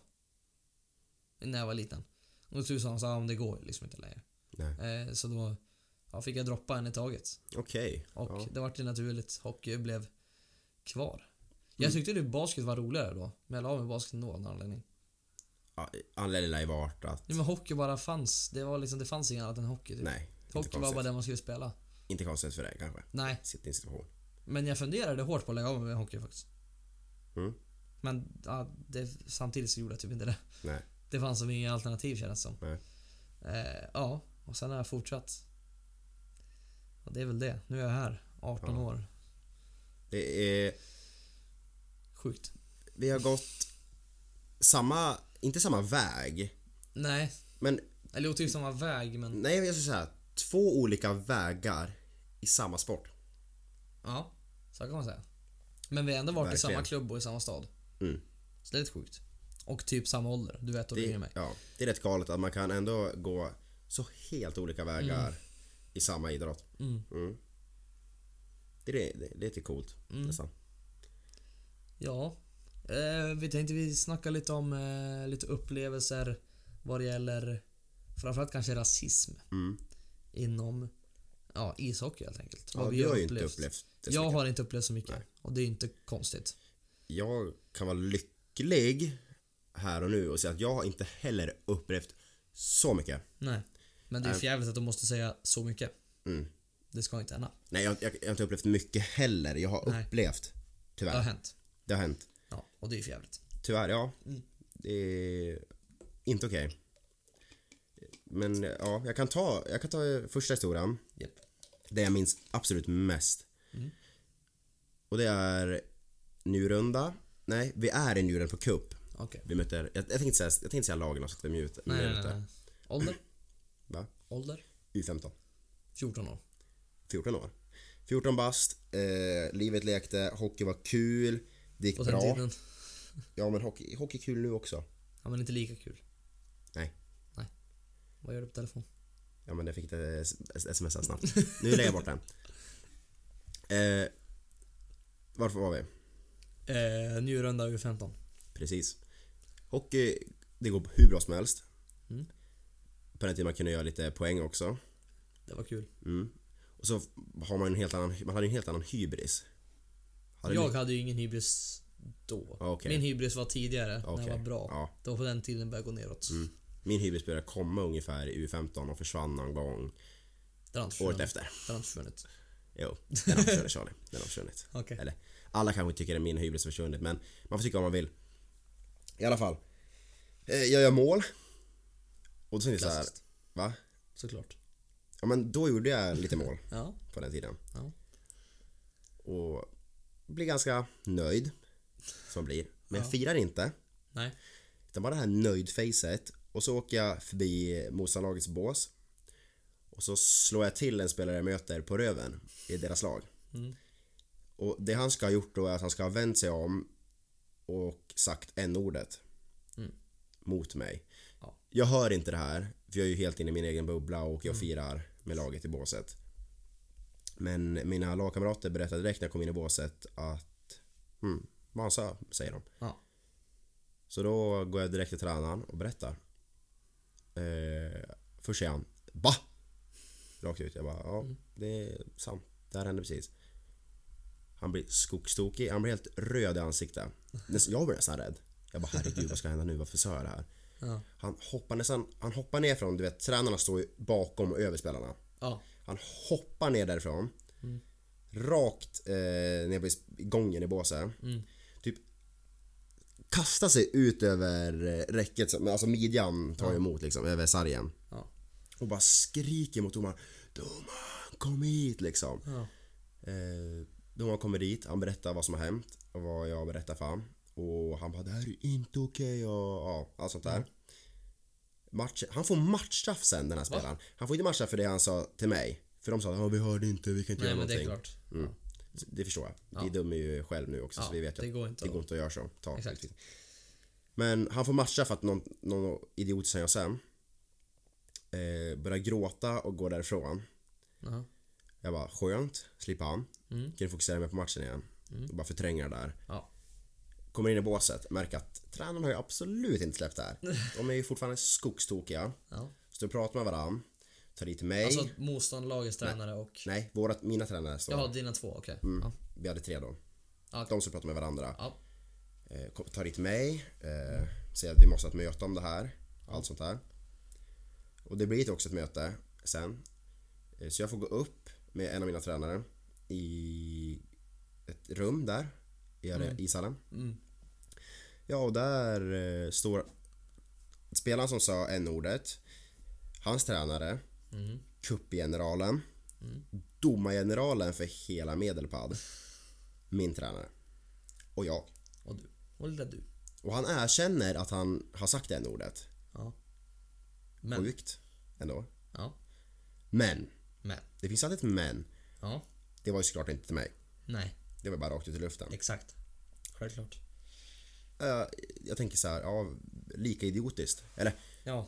B: När jag var liten. Och så sa han så här, "Ja, men det går ju liksom inte längre.
A: Nej.
B: Eh, så då ja, fick jag droppa en i taget.
A: Okej.
B: Och
A: Ja.
B: det vart ju naturligt. Hockey blev kvar. Jag
A: Mm.
B: tyckte typ basket var roligare då. Men jag la av med basket ändå av någon anledning.
A: Ja, anledningen lär ju vara att...
B: Nej, men hockey bara fanns. Det var liksom, det fanns inget annat än hockey. Typ.
A: Nej. Inte
B: hockey var bara
A: konstigt.
B: det man skulle spela.
A: Inte konstigt för dig kanske.
B: Nej.
A: Sitt i en situation.
B: Men jag funderade hårt på att lägga av med hockey faktiskt.
A: Mm.
B: Men ja, det, samtidigt så gjorde jag typ inte det.
A: Nej.
B: Det fanns som inga alternativ kändes som.
A: Nej.
B: Eh, ja, och sen har jag fortsatt. Och det är väl det. Nu är jag här, 18
A: Ja.
B: år.
A: Det är...
B: Sjukt.
A: Vi har gått samma... Inte samma väg.
B: Nej,
A: Men
B: eller jo, typ samma väg men...
A: nej, jag skulle säga två olika vägar i samma sport.
B: Ja, så kan man säga. Men vi har ändå varit i
A: Verkligen.
B: samma klubb och i samma stad.
A: Mm.
B: Så det är lite sjukt. Och typ samma ålder. Du vet att du är
A: Det,
B: mig.
A: ja, det är rätt galet att man kan ändå gå så helt olika vägar i samma idrott.
B: Mm.
A: Mm. Det, är, det är lite coolt
B: Mm.
A: nästan.
B: Ja. Eh, vi tänkte vi snacka lite om eh, lite upplevelser vad det gäller framförallt kanske rasism
A: Mm.
B: inom ja, ishockey helt enkelt.
A: Ja, du har ju inte upplevt det så
B: Jag
A: mycket.
B: har inte upplevt så mycket
A: Nej.
B: och det är inte konstigt.
A: Jag kan vara lycklig här och nu och säga att jag har inte heller upplevt så mycket.
B: Nej. Men det är för jävligt att de måste säga så mycket.
A: Mm.
B: Det ska inte hända.
A: Nej, jag, jag, jag har inte upplevt mycket heller. Jag har
B: Nej.
A: upplevt.
B: Det
A: Tyvärr.
B: har hänt.
A: Det har hänt.
B: Ja, och det är för jävligt.
A: Tyvärr, ja.
B: Mm.
A: Det är inte okej. Men ja, jag kan ta, jag kan ta eh, första historien.
B: Japp.
A: Det jag minns absolut mest.
B: Mm.
A: Och det är Njurunda. Nej, vi är i Njurunda på cup.
B: Ja. Okej.
A: Vi möter, jag, jag, tänkte säga, jag tänkte säga lagen så att vi mute-
B: Nej, nej, nej,
A: mutar.
B: nej. Ålder?
A: Va?
B: Ålder?
A: U15.
B: 14 år.
A: 14 år. 14 bast, eh, livet lekte, hockey var kul, det gick
B: På den
A: bra.
B: tiden.
A: Ja men hockey, hockey är kul nu också.
B: Ja, men inte lika kul.
A: Nej.
B: Nej. Vad gör du på telefon?
A: Ja men jag fick det s- sms här snabbt. Nu lägger jag bort den. Eh, varför var vi?
B: Eh, Njurunda U15.
A: Precis. Hockey, det går hur bra som helst.
B: Mm.
A: På den tiden man kunde göra lite poäng också.
B: Det var kul.
A: Mm. Och så har man en helt annan, man hade en helt annan hybris. Hade
B: jag
A: ni-
B: hade ju ingen hybris då.
A: Ja, Ah, okej.
B: Min hybris var tidigare, när jag
A: Okej,
B: var bra.
A: ja.
B: Det var på den tiden det började gå neråt. Mm.
A: Min hybris började komma ungefär i U15 och försvann någon gång
B: Den har inte
A: året
B: försvunnit.
A: efter.
B: Den har inte försvunnit.
A: Jo, den har försvunnit Charlie. Den har försvunnit.
B: Okej.
A: Eller, alla kanske tycker att min hybris har försvunnit men man får tycka vad man vill. I alla fall. Eh, Jag gör mål. Och då tänkte jag såhär,
B: Klassiskt.
A: va?
B: Såklart.
A: Ja men då gjorde jag lite mål
B: Ja.
A: på den tiden.
B: ja.
A: Och blir ganska nöjd. Som man blir. Men jag firar inte.
B: Nej.
A: Utan bara det här nöjd-facet. Och så åker jag förbi motståndarlagets bås. Och så slår jag till en spelare jag möter på röven i deras lag.
B: Mm.
A: Och det han ska ha gjort då är att han ska ha vänt sig om och sagt n-ordet.
B: Mm.
A: Mot mig.
B: Ja.
A: Jag hör inte det här, för jag är ju helt inne i min egen bubbla och jag
B: Mm.
A: firar med laget i båset. Men mina lagkamrater berättade direkt när jag kom in i båset att hmm, vad han sa, säger de.
B: Ja.
A: Så då går jag direkt till tränaren och berättar. Eh, först säger han BA! Rakt ut. Jag bara ja, det är sant. Det här hände precis. Han blir skogstokig. Han blir helt röd i ansiktet. Nästan- Jag blir nästan rädd. Jag bara herregud vad ska hända nu? Varför sa jag det här?
B: Ja.
A: Han hoppar nästan, han hoppar ner från, du vet tränarna står ju bakom och över spelarna.
B: Ja.
A: Han hoppar ner därifrån. Rakt eh, ner på is- gången i båset. Typ kastar sig ut över eh, räcket, så- men alltså midjan tar ju emot liksom, över sargen.
B: Ja.
A: Och bara skriker mot domaren. Domaren kom hit liksom.
B: Ja.
A: Eh, domaren kommer dit, han berättar vad som har hänt och vad jag berättar för honom. Och han bara det här är inte okej och ja, allt sånt där. Match, han får matchstraff sen den här spelaren. Han får inte matchstraff för det han sa till mig. För de sa att vi hörde inte, vi kan inte
B: Nej,
A: göra
B: men det är
A: någonting.
B: klart.
A: Mm. Så Det förstår jag. Vi dömer ju själv nu också
B: Ja,
A: så vi vet ju
B: det
A: att
B: går inte
A: det
B: att-
A: går inte att göra så. Ta.
B: Exakt.
A: Men han får matcha för att någon, någon idiot som jag sen eh, börjar gråta och går därifrån.
B: Ja.
A: Jag bara skönt, slippa han.
B: Mm.
A: Kan du fokusera mer på matchen igen. Och bara förtränga det där.
B: Ja.
A: Kommer in i båset, märker att tränarna har ju absolut inte släppt det här. De är ju fortfarande skogstokiga.
B: ja.
A: Så de pratar med varandra. Tar dit mig.
B: Alltså att motståndarlagets tränare och...
A: Nej, Mm. våra, mina tränare står.
B: Jaha, dina två. Okej. Ja.
A: Vi hade tre då.
B: Ja.
A: De som pratar med varandra.
B: Ja.
A: Eh, kom- tar hit mig, eh, säger att vi måste ha ett möte om det här. Allt sånt där. Och det blir ju också ett möte sen. Eh, så jag får gå upp med en av mina tränare i ett rum där i, eh, i salen.
B: Mm.
A: Ja, och där eh, står spelaren som sa n-ordet, hans tränare,
B: Mm.
A: kuppgeneralen, domargeneralen för hela Medelpad, min tränare och jag.
B: Och du. Och lilla du.
A: Och han erkänner att han har sagt det ordet
B: Ja. Men.
A: Sjukt ändå.
B: Ja.
A: Men,
B: Men.
A: det finns alltid ett men.
B: Ja.
A: Det var ju såklart inte till mig.
B: Nej.
A: Det var bara rakt ut i luften.
B: Exakt. Självklart.
A: Eh, jag tänker så här, ja, lika idiotiskt. Eller,
B: Ja.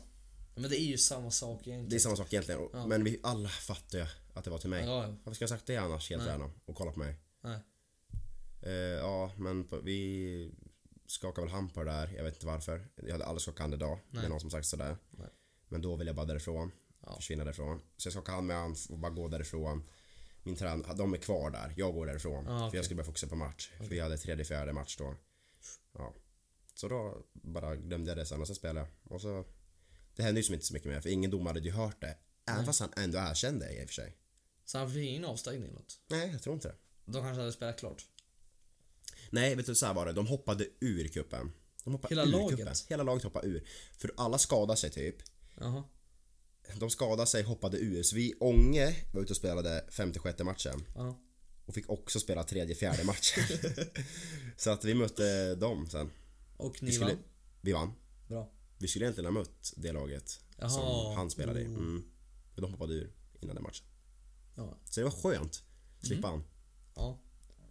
B: Men det är ju samma sak egentligen.
A: det är samma sak egentligen. och-
B: Ja.
A: Men vi alla fattar ju att det var till mig.
B: Ja, ja.
A: Varför ska jag ha sagt det annars helt ärligt och kolla på mig?
B: Nej.
A: Eh, ja, men på, vi skakar väl hand på det där. Jag vet inte varför. Jag hade aldrig skakat hand idag med någon som sagt sådär.
B: Nej.
A: Men då vill jag bara därifrån.
B: Ja.
A: Försvinna därifrån. Så jag skakar hand med honom och bara gå därifrån. Min tränare, de är kvar där. Jag går därifrån.
B: Ah,
A: För
B: okej.
A: jag skulle börja fokusera på match. För vi hade tredje, fjärde match då. Ja. Så då bara glömde jag det sen och sen spelade jag. Och så, det hände ju som inte så mycket mer för ingen domare hade ju hört det. Även fast han ändå erkände det i och för sig.
B: Så han fick ingen avstängning eller något.
A: Nej, jag tror inte det.
B: De kanske hade spelat klart.
A: Nej, vet du så här var det. De hoppade ur kuppen. De hoppade
B: Hela
A: ur
B: laget?
A: Kuppen. Hela laget hoppade ur. För alla skadade sig typ.
B: Jaha.
A: De skadade sig, hoppade ur. Så vi i Ånge var ute och spelade femte, sjätte matchen.
B: Ja.
A: Och fick också spela tredje, fjärde matchen. så att vi mötte dem sen.
B: Och
A: Vi
B: ni
A: skulle,
B: vann.
A: Vi vann.
B: Bra.
A: Vi skulle egentligen ha mött det laget som
B: Jaha.
A: han spelade i.
B: Oh.
A: Mm. Men de hoppade ur innan den matchen.
B: Ja.
A: Så det var skönt. Slippa
B: Mm.
A: han.
B: Ja.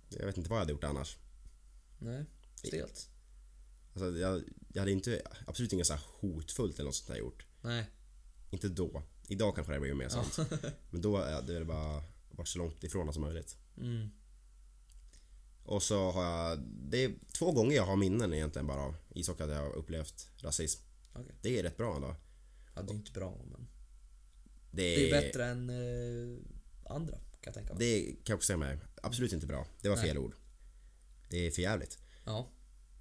A: Jag vet inte vad jag hade gjort annars.
B: Nej. Stelt.
A: Alltså, jag, jag hade inte, absolut inget så här hotfullt eller något sånt där gjort.
B: Nej.
A: Inte då. Idag kanske det blir mer sånt. Men då hade det bara varit så långt ifrån som möjligt.
B: Mm.
A: Och så har jag, det är två gånger jag har minnen egentligen bara av ishockey att jag har upplevt rasism.
B: Okej.
A: Det är rätt bra ändå.
B: Ja, det är inte bra men.
A: Det
B: Det är bättre än eh, andra kan jag tänka mig.
A: Det kan jag också säga med. Absolut inte bra. Det var
B: Nej.
A: fel ord. Det är för jävligt.
B: Ja.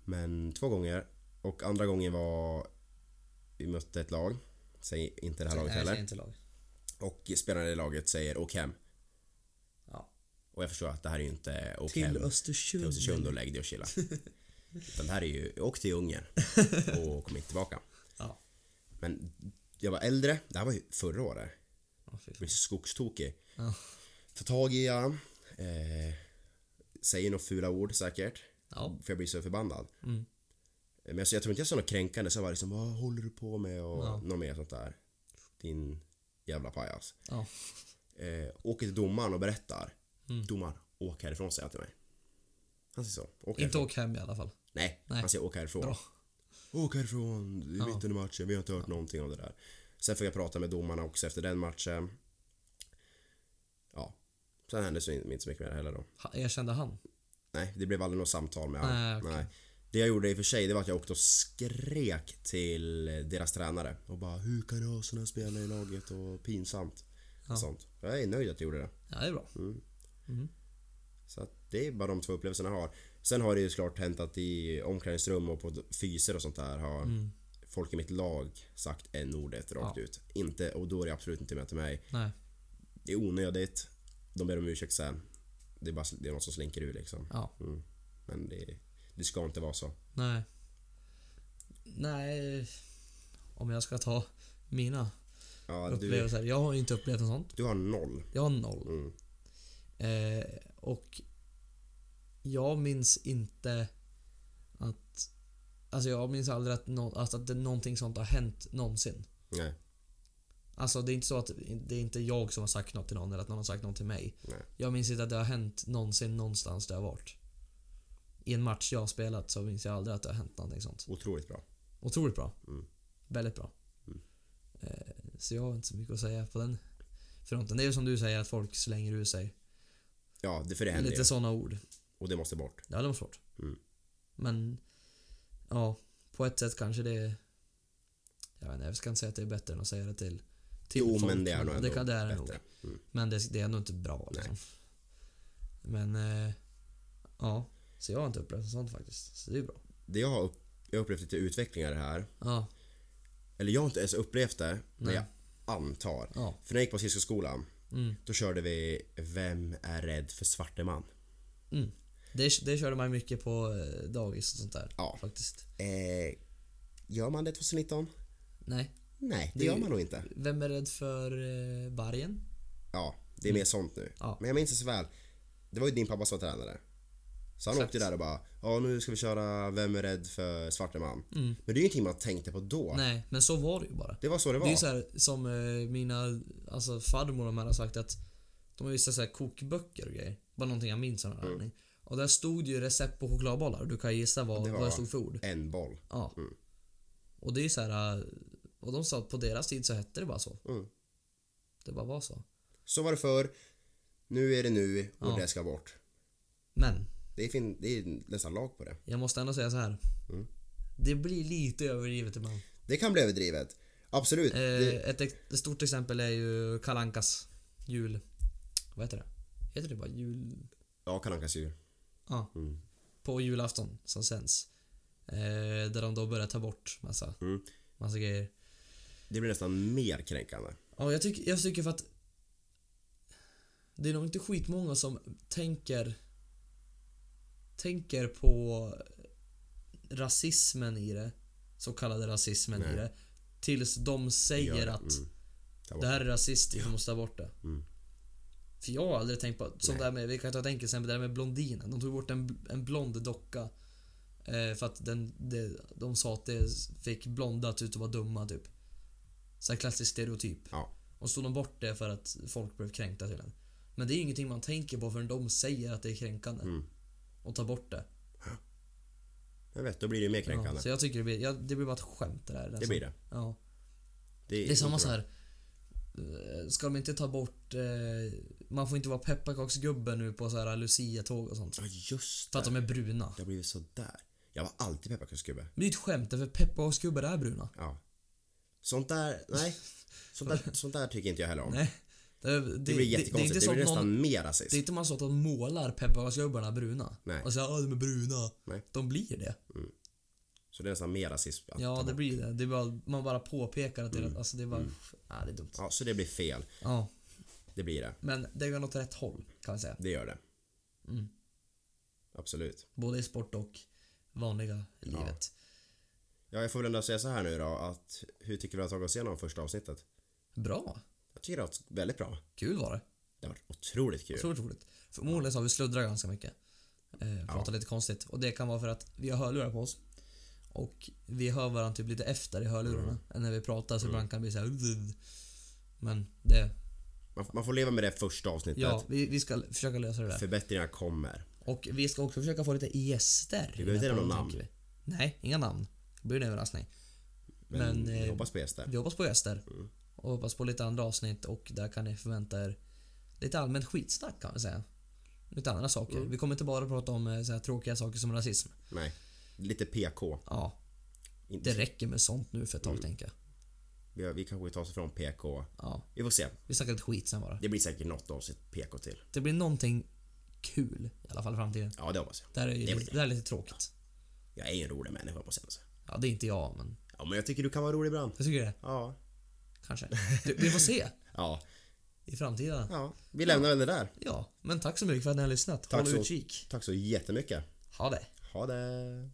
A: Men två gånger. Och andra gången var vi mötte ett lag. Säg inte det här
B: Nej,
A: laget
B: jag säger
A: heller.
B: inte lag.
A: Och spelaren i laget säger åk hem.
B: Ja.
A: Och jag förstår att det här är ju inte åk
B: Till
A: hem
B: Östersund.
A: till Östersund och lägg dig och chilla. Utan det här är ju åk till Ungern och kom inte tillbaka.
B: Ja.
A: Men jag var äldre. Det här var ju förra året.
B: Ja, fy fan.
A: Jag blev skogstokig.
B: Ja.
A: Tar tag i han. Eh, säger några fula ord säkert.
B: Ja.
A: För jag blir så förbannad.
B: Mm.
A: Men alltså, jag tror inte jag sa något kränkande. Så jag var liksom vad håller du på med? Och
B: Ja.
A: något mer sånt där. Din jävla pajas.
B: Ja.
A: Eh, åker till domaren och berättar.
B: Mm.
A: Domaren, åk härifrån säger han till mig. Han säger så. Åk
B: Inte
A: härifrån.
B: åk hem i alla fall.
A: Nej,
B: Nej.
A: han säger åk härifrån.
B: Bra.
A: Åk härifrån, i
B: Ja.
A: mitten av matchen, vi har inte hört någonting om det där. Sen får jag prata med domarna också efter den matchen. Ja. Sen hände så inte så mycket mer heller då.
B: Ha, erkände han?
A: Nej, det blev aldrig något samtal med honom.
B: Nej, okej.
A: Det jag gjorde i och för sig, det var att jag åkte och skrek till deras tränare och bara Hur kan du ha såna spelare i laget och pinsamt.
B: Ja.
A: Sånt. Jag är nöjd att jag gjorde det.
B: Ja, det är bra.
A: Mm. Så att det är bara de två upplevelserna jag har. Sen har det ju såklart hänt att i omklädningsrum och på fyser och sånt där har folk i mitt lag sagt en ordet rakt
B: Mm. Ja.
A: ut. Inte, och då är det absolut inte med till mig.
B: Nej.
A: Det är onödigt. De ber om ursäkt sen. Det är bara det är något som slinker ur liksom.
B: Ja.
A: Mm. Men det, det ska inte vara så.
B: Nej. Nej. Om jag ska ta mina
A: Ja, du,
B: upplevelser. Jag har ju inte upplevt något sånt.
A: du har noll.
B: Jag har noll.
A: Mm.
B: Eh, och jag minns inte att... Alltså jag minns aldrig att, nå alltså att det, någonting sånt har hänt någonsin.
A: Nej,
B: Alltså det är inte så att det är inte jag som har sagt något till någon eller att någon har sagt något till mig.
A: Nej.
B: Jag minns inte att det har hänt någonsin någonstans där jag har varit. I en match jag har spelat så minns jag aldrig att det har hänt någonting sånt.
A: otroligt bra.
B: Otroligt bra.
A: Mm.
B: Väldigt bra.
A: Mm.
B: Eh, så jag har inte så mycket att säga på den fronten. Det är ju som du säger att folk slänger ur sig.
A: Ja, det för det händer
B: Lite
A: ju.
B: sådana ord.
A: Och det måste bort.
B: Ja, det var svårt.
A: Mm.
B: Men ja, på ett sätt kanske det är... Jag vet inte, jag ska inte säga att det är bättre än att säga det till, till
A: Jo,
B: folk,
A: men det är nog
B: det
A: ändå
B: kan, det är det nog.
A: Bättre. Mm.
B: Men det, det är ändå inte bra liksom. Men eh, ja, så jag har inte upplevt något sånt faktiskt. Så det är ju bra.
A: Det jag har upp, jag har upplevt lite utvecklingar i det här.
B: Ja,
A: Eller jag har inte ens upplevt det, men
B: Nej.
A: jag antar.
B: ja.
A: För när jag gick på Siskoskolan,
B: Mm.
A: då körde vi Vem är rädd för svarte man?
B: Mm. Det, det körde man mycket på eh, dagis och sånt där.
A: Ja.
B: Faktiskt.
A: Eh, gör man det 2019?
B: Nej.
A: Nej, det,
B: Det-
A: gör man nog inte.
B: Vem är rädd för eh, vargen?
A: Ja, det är mer sånt nu.
B: Mm. Ja.
A: Men jag minns det så väl. Det var ju din pappa som var tränare. Så han
B: Exakt.
A: åkte där och bara Ja nu ska vi köra Vem är rädd för svarte man?
B: Mm.
A: Men det är ju ingenting man tänkte på då.
B: Nej, men så var det ju bara.
A: Det var så det var.
B: Det är ju så här, som eh, mina alltså, farmor och de här har sagt att de har vissa så här kokböcker och grejer. Bara någonting jag minns av den här
A: Mm.
B: anledningen. Och där stod det ju recept på chokladbollar. Du kan gissa vad
A: Det
B: det,
A: var- Mm.
B: vad det stod för ord.
A: En boll.
B: Ja. Och det är ju så här. eh, Och de sa att på deras tid så hette det bara så.
A: Mm.
B: Det bara var så.
A: Så var det förr. Nu är det nu och
B: Ja.
A: det ska bort.
B: Men
A: Det är, fin- det är nästan lag på det.
B: jag måste ändå säga så här.
A: Mm.
B: Det blir lite överdrivet ibland.
A: Det kan bli överdrivet. Absolut.
B: Eh,
A: Det,
B: ett, ex- ett stort exempel är ju Kalankas jul... Vad heter det? Heter det bara jul...
A: ja, Kalle Ankas jul.
B: Ja.
A: Mm.
B: På julafton som sänds. Eh, där de då börjar ta bort massa,
A: Mm.
B: massa grejer.
A: Det blir nästan mer kränkande.
B: Ja, jag, tyck, jag tycker för att det är nog inte skitmånga som tänker tänker på rasismen i det. Så kallade rasismen
A: Nej.
B: i det. Tills de
A: Gör
B: säger att
A: Mm. Ta bort
B: det här är rasistiskt, vi måste ta bort det.
A: Mm.
B: För jag har aldrig tänkt på, som
A: Nej.
B: det här med, vi kan ta ett enkelt exempel, det här med blondinen. De tog bort en, en blond docka Eh, för att den, det, de sa att det fick blondat ut och var dumma typ. Så här klassisk stereotyp.
A: Ja.
B: Och så tog de bort det för att folk blev kränkta tydligen. Men det är ju ingenting man tänker på förrän de säger att det är kränkande.
A: Mm.
B: Och tar bort det.
A: Jag vet, då blir det ju mer
B: Ja,
A: kränkande.
B: så jag tycker det blir, ja, det blir bara ett skämt det där.
A: det
B: alltså.
A: blir det.
B: Ja.
A: Det
B: Det är samma
A: inte
B: så
A: bra.
B: här. eh, Ska de inte ta bort... Eh, man får inte vara pepparkaksgubbe nu på så här Lucia-tåg och sånt.
A: Ja, just det.
B: För att de är bruna.
A: Det har blivit sådär. Jag var alltid pepparkaksgubbe.
B: Men det är ju ett skämt, för pepparkaksgubbar är bruna.
A: Ja. Sånt där, nej. Sånt där, sånt där tycker inte jag heller om.
B: Nej. Det, det,
A: Det blir jättekonstigt. Det,
B: så
A: blir
B: att någon-
A: nästan mer rasist.
B: Det är inte man så att de målar pepparkaksgubbarna bruna.
A: Nej.
B: Och säger att de är bruna.
A: Nej.
B: De blir det.
A: Så det är nästan mer rasism. att ta
B: Ja, det
A: bort.
B: blir det. det är bara, man bara påpekar att det, är alltså det är bara... Ah, det är dumt.
A: Mm. Ja, så det blir fel.
B: Ja.
A: Det blir det.
B: Men det går åt rätt håll, kan man säga.
A: Det gör det.
B: Mm.
A: Absolut.
B: Både i sport och vanliga livet.
A: Ja, jag får väl ändå säga så här nu då att hur tycker vi att vi har tagit oss igenom första avsnittet?
B: Bra.
A: Jag tycker det har varit väldigt bra.
B: Kul var det.
A: Det har varit otroligt kul.
B: Otroligt roligt. Förmodligen så har vi sluddrat ganska mycket. Eh, pratat lite konstigt. Och det kan vara för att vi har hörlurar på oss. Och vi hör varandra typ lite efter i hörlurarna
A: Mm.
B: än när vi pratar så ibland kan det bli såhär... Men det...
A: Man, man får leva med det första avsnittet.
B: Ja, vi, vi ska försöka lösa det där.
A: Förbättringar kommer.
B: Och vi ska också försöka få lite gäster.
A: Vi behöver inte nämna
B: Tänker
A: namn.
B: vi. Nej, inga namn. Det blir en överraskning.
A: Men,
B: Men,
A: vi
B: eh,
A: hoppas på gäster.
B: Vi hoppas på gäster.
A: Mm.
B: Och hoppas på lite andra avsnitt och där kan ni förvänta er lite allmänt skitsnack kan man säga. Lite andra saker.
A: Mm.
B: Vi kommer inte bara prata om eh, så här tråkiga saker som rasism.
A: Nej. Lite PK.
B: Ja, Mm.
A: Inte-
B: det räcker med sånt nu för ett tag tänker jag.
A: Vi, vi kanske tar oss ifrån PK.
B: Ja,
A: Vi får se.
B: vi snackar lite skit sen bara.
A: Det blir säkert något avsnitt PK till.
B: Det blir någonting kul i alla fall i framtiden.
A: Ja, det hoppas jag.
B: Det här är, ju
A: Det blir
B: lite, det här är lite tråkigt.
A: Jag är ju en rolig människa på scenen. så.
B: Ja, det är inte jag men
A: Ja, men jag tycker du kan vara rolig ibland.
B: jag tycker det.
A: Ja.
B: Kanske. Du, vi får se
A: Ja.
B: i framtiden.
A: ja. Vi lämnar väl det där.
B: Ja, men tack så mycket för att ni har lyssnat. Håll
A: så-
B: utkik.
A: Tack så jättemycket.
B: Ha det.
A: Ha det.